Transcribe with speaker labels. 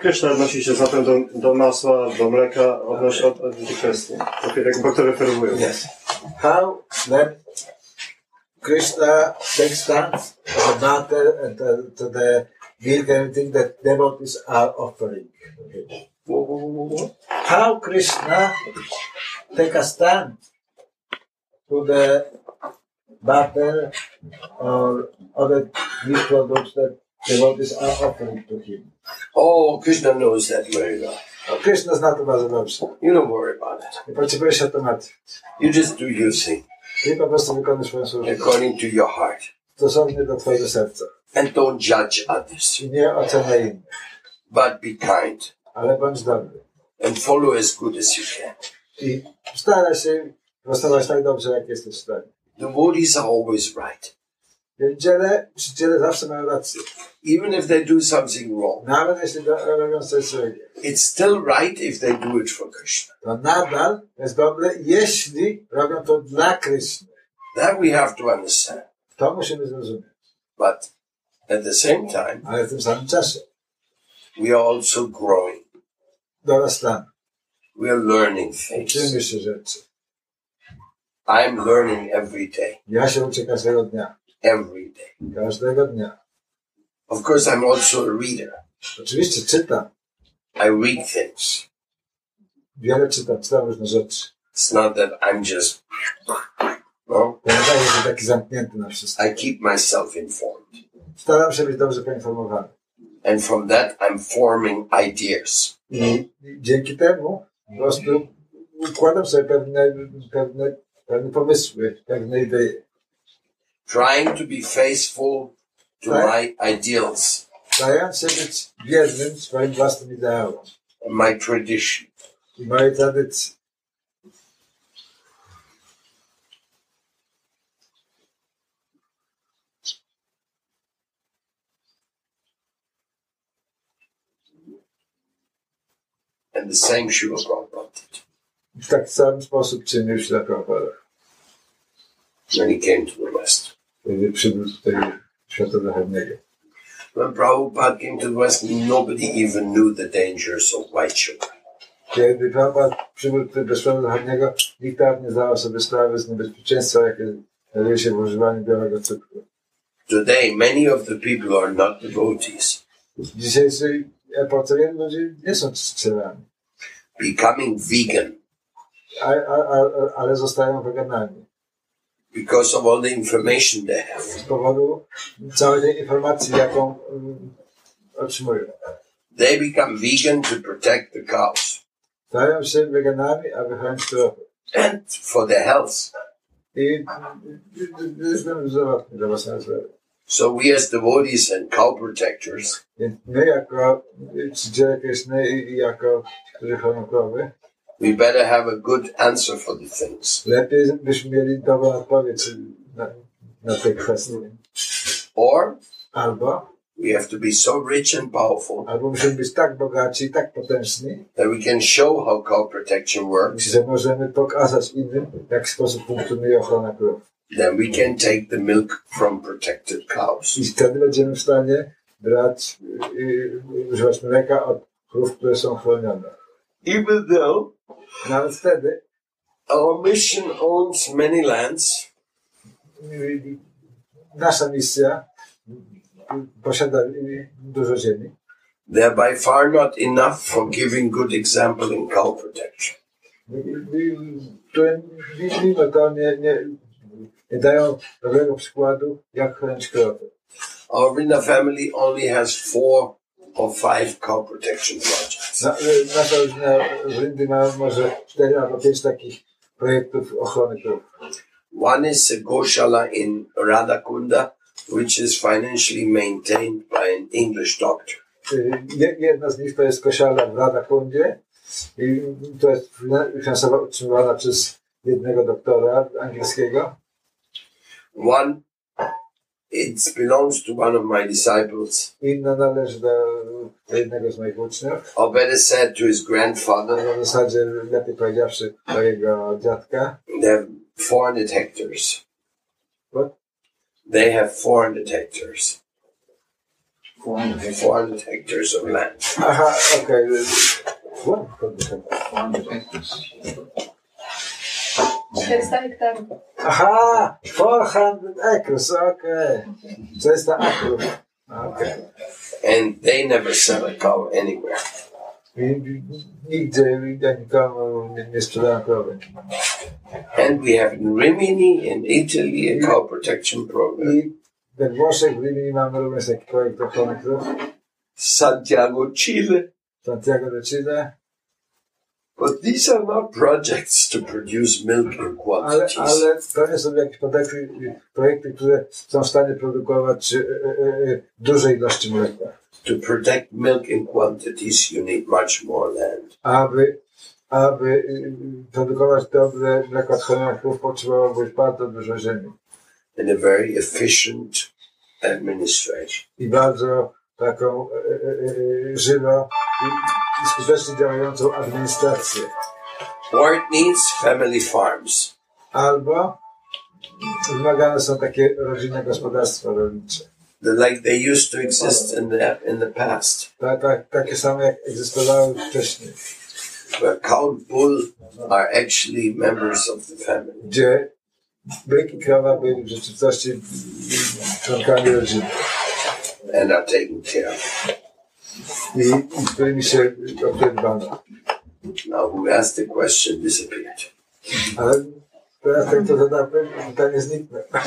Speaker 1: Kryszna odnosi się zatem do, do masła, do mleka, odnosi od, od tych kwestii, do tych, jakby, które ferwują.
Speaker 2: Yes. How that Krishna takes stance as a matter and to, to the milk and everything that devotees are offering. him. How Krishna take a stand to the butter or other meat products that devotees are offering to him.
Speaker 3: Oh, Krishna knows that very well.
Speaker 2: Krishna's not a Vasanamsa.
Speaker 3: You don't worry about it.
Speaker 2: Nie potrzebujesz się tematu.
Speaker 3: You just do your thing
Speaker 2: Ty po prostu wykonasz swoją służbę.
Speaker 3: according to your heart
Speaker 2: Stosownie do twojego serca.
Speaker 3: and don't judge others,
Speaker 2: Czy nie ocenę innych,
Speaker 3: but be kind
Speaker 2: ale bądź dobry.
Speaker 3: and follow as good as you can.
Speaker 2: I staraj się prostować tak dobrze, jak jesteś w stanie.
Speaker 3: The devotees are always right,
Speaker 2: Wielbiciele, czciciele zawsze mają rację.
Speaker 3: even if they do something wrong.
Speaker 2: Nawet jeśli do- robią coś złego.
Speaker 3: It's still right if they do it for Krishna.
Speaker 2: To nadal jest dobre, jeśli robią to dla Kryszny.
Speaker 3: That we have to understand.
Speaker 2: To musimy zrozumieć.
Speaker 3: But at the same time,
Speaker 2: Ale w tym samym czasie
Speaker 3: we are also growing.
Speaker 2: dorastamy.
Speaker 3: We are learning things.
Speaker 2: Uczymy się rzeczy.
Speaker 3: I'm learning every day,
Speaker 2: Ja się uczę każdego dnia.
Speaker 3: every day.
Speaker 2: Każdego dnia.
Speaker 3: Of course, I'm also a reader.
Speaker 2: Oczywiście czytam.
Speaker 3: I read things.
Speaker 2: Wiele czytam. Czytam różne rzeczy.
Speaker 3: It's not that I'm just, no,
Speaker 2: Ja nie daję się taki zamknięty na wszystko.
Speaker 3: I keep myself informed.
Speaker 2: Staram się być dobrze poinformowany.
Speaker 3: And from that, I'm forming ideas.
Speaker 2: I dzięki temu po prostu układam sobie pewne, pewne, pewne pomysły, pewne idee.
Speaker 3: Trying to be faithful to my ideals
Speaker 2: Starając się być wiernym swoim własnym ideałom
Speaker 3: and my tradition.
Speaker 2: i mojej tradycji.
Speaker 3: And the same Srila Prabhupada did
Speaker 2: I w taki sam sposób czynił się na Prabhupada,
Speaker 3: when he came to the West.
Speaker 2: kiedy przybył tutaj świata zachodniego.
Speaker 3: When Prabhupada came to the West, nobody even knew the dangers of white sugar.
Speaker 2: Kiedy Prabhupada przybył tutaj do świata zachodniego, nikt nawet nie zdawał sobie sprawy z niebezpieczeństwa, jakie znajduje się w używaniu białego cukru.
Speaker 3: Today, many of the people are not devotees,
Speaker 2: W dzisiejszej epoce wielu ludzi nie są czcicielami,
Speaker 3: becoming vegan
Speaker 2: a, a, a, ale zostają weganami.
Speaker 3: because of all the information they have.
Speaker 2: z powodu całej tej informacji, jaką mm, otrzymują.
Speaker 3: They become vegan to protect the cows
Speaker 2: Stają się weganami, aby chronić zdrowie.
Speaker 3: and for their health.
Speaker 2: I jestem zdrowotny dla własnego zdrowia.
Speaker 3: So we as devotees and cow protectors
Speaker 2: Więc my jako czciele Kryszny i i jako którzy chronią krowy,
Speaker 3: we better have a good answer for the things,
Speaker 2: lepiej byśmy mieli dobrą odpowiedź na, na te kwestie.
Speaker 3: or
Speaker 2: Albo,
Speaker 3: we have to be so rich and powerful
Speaker 2: albo musimy być tak bogaci i tak potężni,
Speaker 3: that we can show how cow protection works.
Speaker 2: że możemy pokazać innym, w jaki sposób funkcjonuje ochrona krów.
Speaker 3: Then we can take the milk from protected cows.
Speaker 2: I wtedy będziemy w stanie brać, y, y, używać mleka od krów, które są chronione.
Speaker 3: Even though
Speaker 2: Nawet wtedy
Speaker 3: our mission owns many lands,
Speaker 2: y, y, nasza misja y, posiada y, dużo ziemi.
Speaker 3: they're by far not enough for giving good example in cow protection.
Speaker 2: Y, y, które mi- mimo to nie, nie, nie dają dobrego przykładu, jak chronić krowy.
Speaker 3: Our Rinda family only has four or five cow protection projects.
Speaker 2: Na, y, nasza rodzina w Ryndy ma może 4 albo 5 takich projektów ochrony krów.
Speaker 3: One is the Goshala in Radhakunda, which is financially maintained by an English doctor.
Speaker 2: Y, je- Jedna z nich to jest kosiarna w Radakundzie i to jest fina- finansowo utrzymywana przez jednego doktora angielskiego.
Speaker 3: One, it belongs to one of my disciples,
Speaker 2: Inna należy do jednego z moich uczniów,
Speaker 3: or better said, to his grandfather.
Speaker 2: a w zasadzie lepiej powiedziawszy do jego dziadka.
Speaker 3: They have 400 hectares.
Speaker 2: What?
Speaker 3: They have 400 hectares. 400 hectares of land.
Speaker 2: Aha, okej. Wow, kurde, kurde.
Speaker 4: 400 hektarów.
Speaker 2: Aha, 400 acres, okej. 400 akrów. Okej.
Speaker 3: And they never sell a cow anywhere.
Speaker 2: I- Nigdzie ja nikomu nie, nie sprzedałem krowy.
Speaker 3: And we have in Rimini in Italy a cow protection program.
Speaker 2: I we Włoszech, w Rimini mamy również taki projekt ochrony krów.
Speaker 3: Santiago, Chile.
Speaker 2: Santiago de Chile.
Speaker 3: But these are not projects to produce milk in
Speaker 2: Ale,
Speaker 3: quantities.
Speaker 2: ale to nie są jakieś projekty, projekty, które są w stanie produkować e, e, e, duże ilości mleka.
Speaker 3: To protect milk in quantities, you need much more land.
Speaker 2: Aby, aby y, y, produkować dobre mleko od choniaków potrzebowało być bardzo dużo ziemi.
Speaker 3: and a very efficient administration.
Speaker 2: I bardzo taką e, e, e, żywą i, i skutecznie działającą administrację.
Speaker 3: Or it needs family farms.
Speaker 2: Albo wymagane są takie rodzinne gospodarstwa rolnicze.
Speaker 3: The, like they used to exist in the in the past,
Speaker 2: Tak, tak, takie same jak egzystowały wcześniej,
Speaker 3: where cow and bull are actually members of the family.
Speaker 2: gdzie byk i krowa byli w rzeczywistości członkami rodziny.
Speaker 3: and are taken care of.
Speaker 2: I, i którymi się o które dbano.
Speaker 3: Now, who asked the question disappeared.
Speaker 2: Ale teraz tak to zadałem, pytanie zniknę.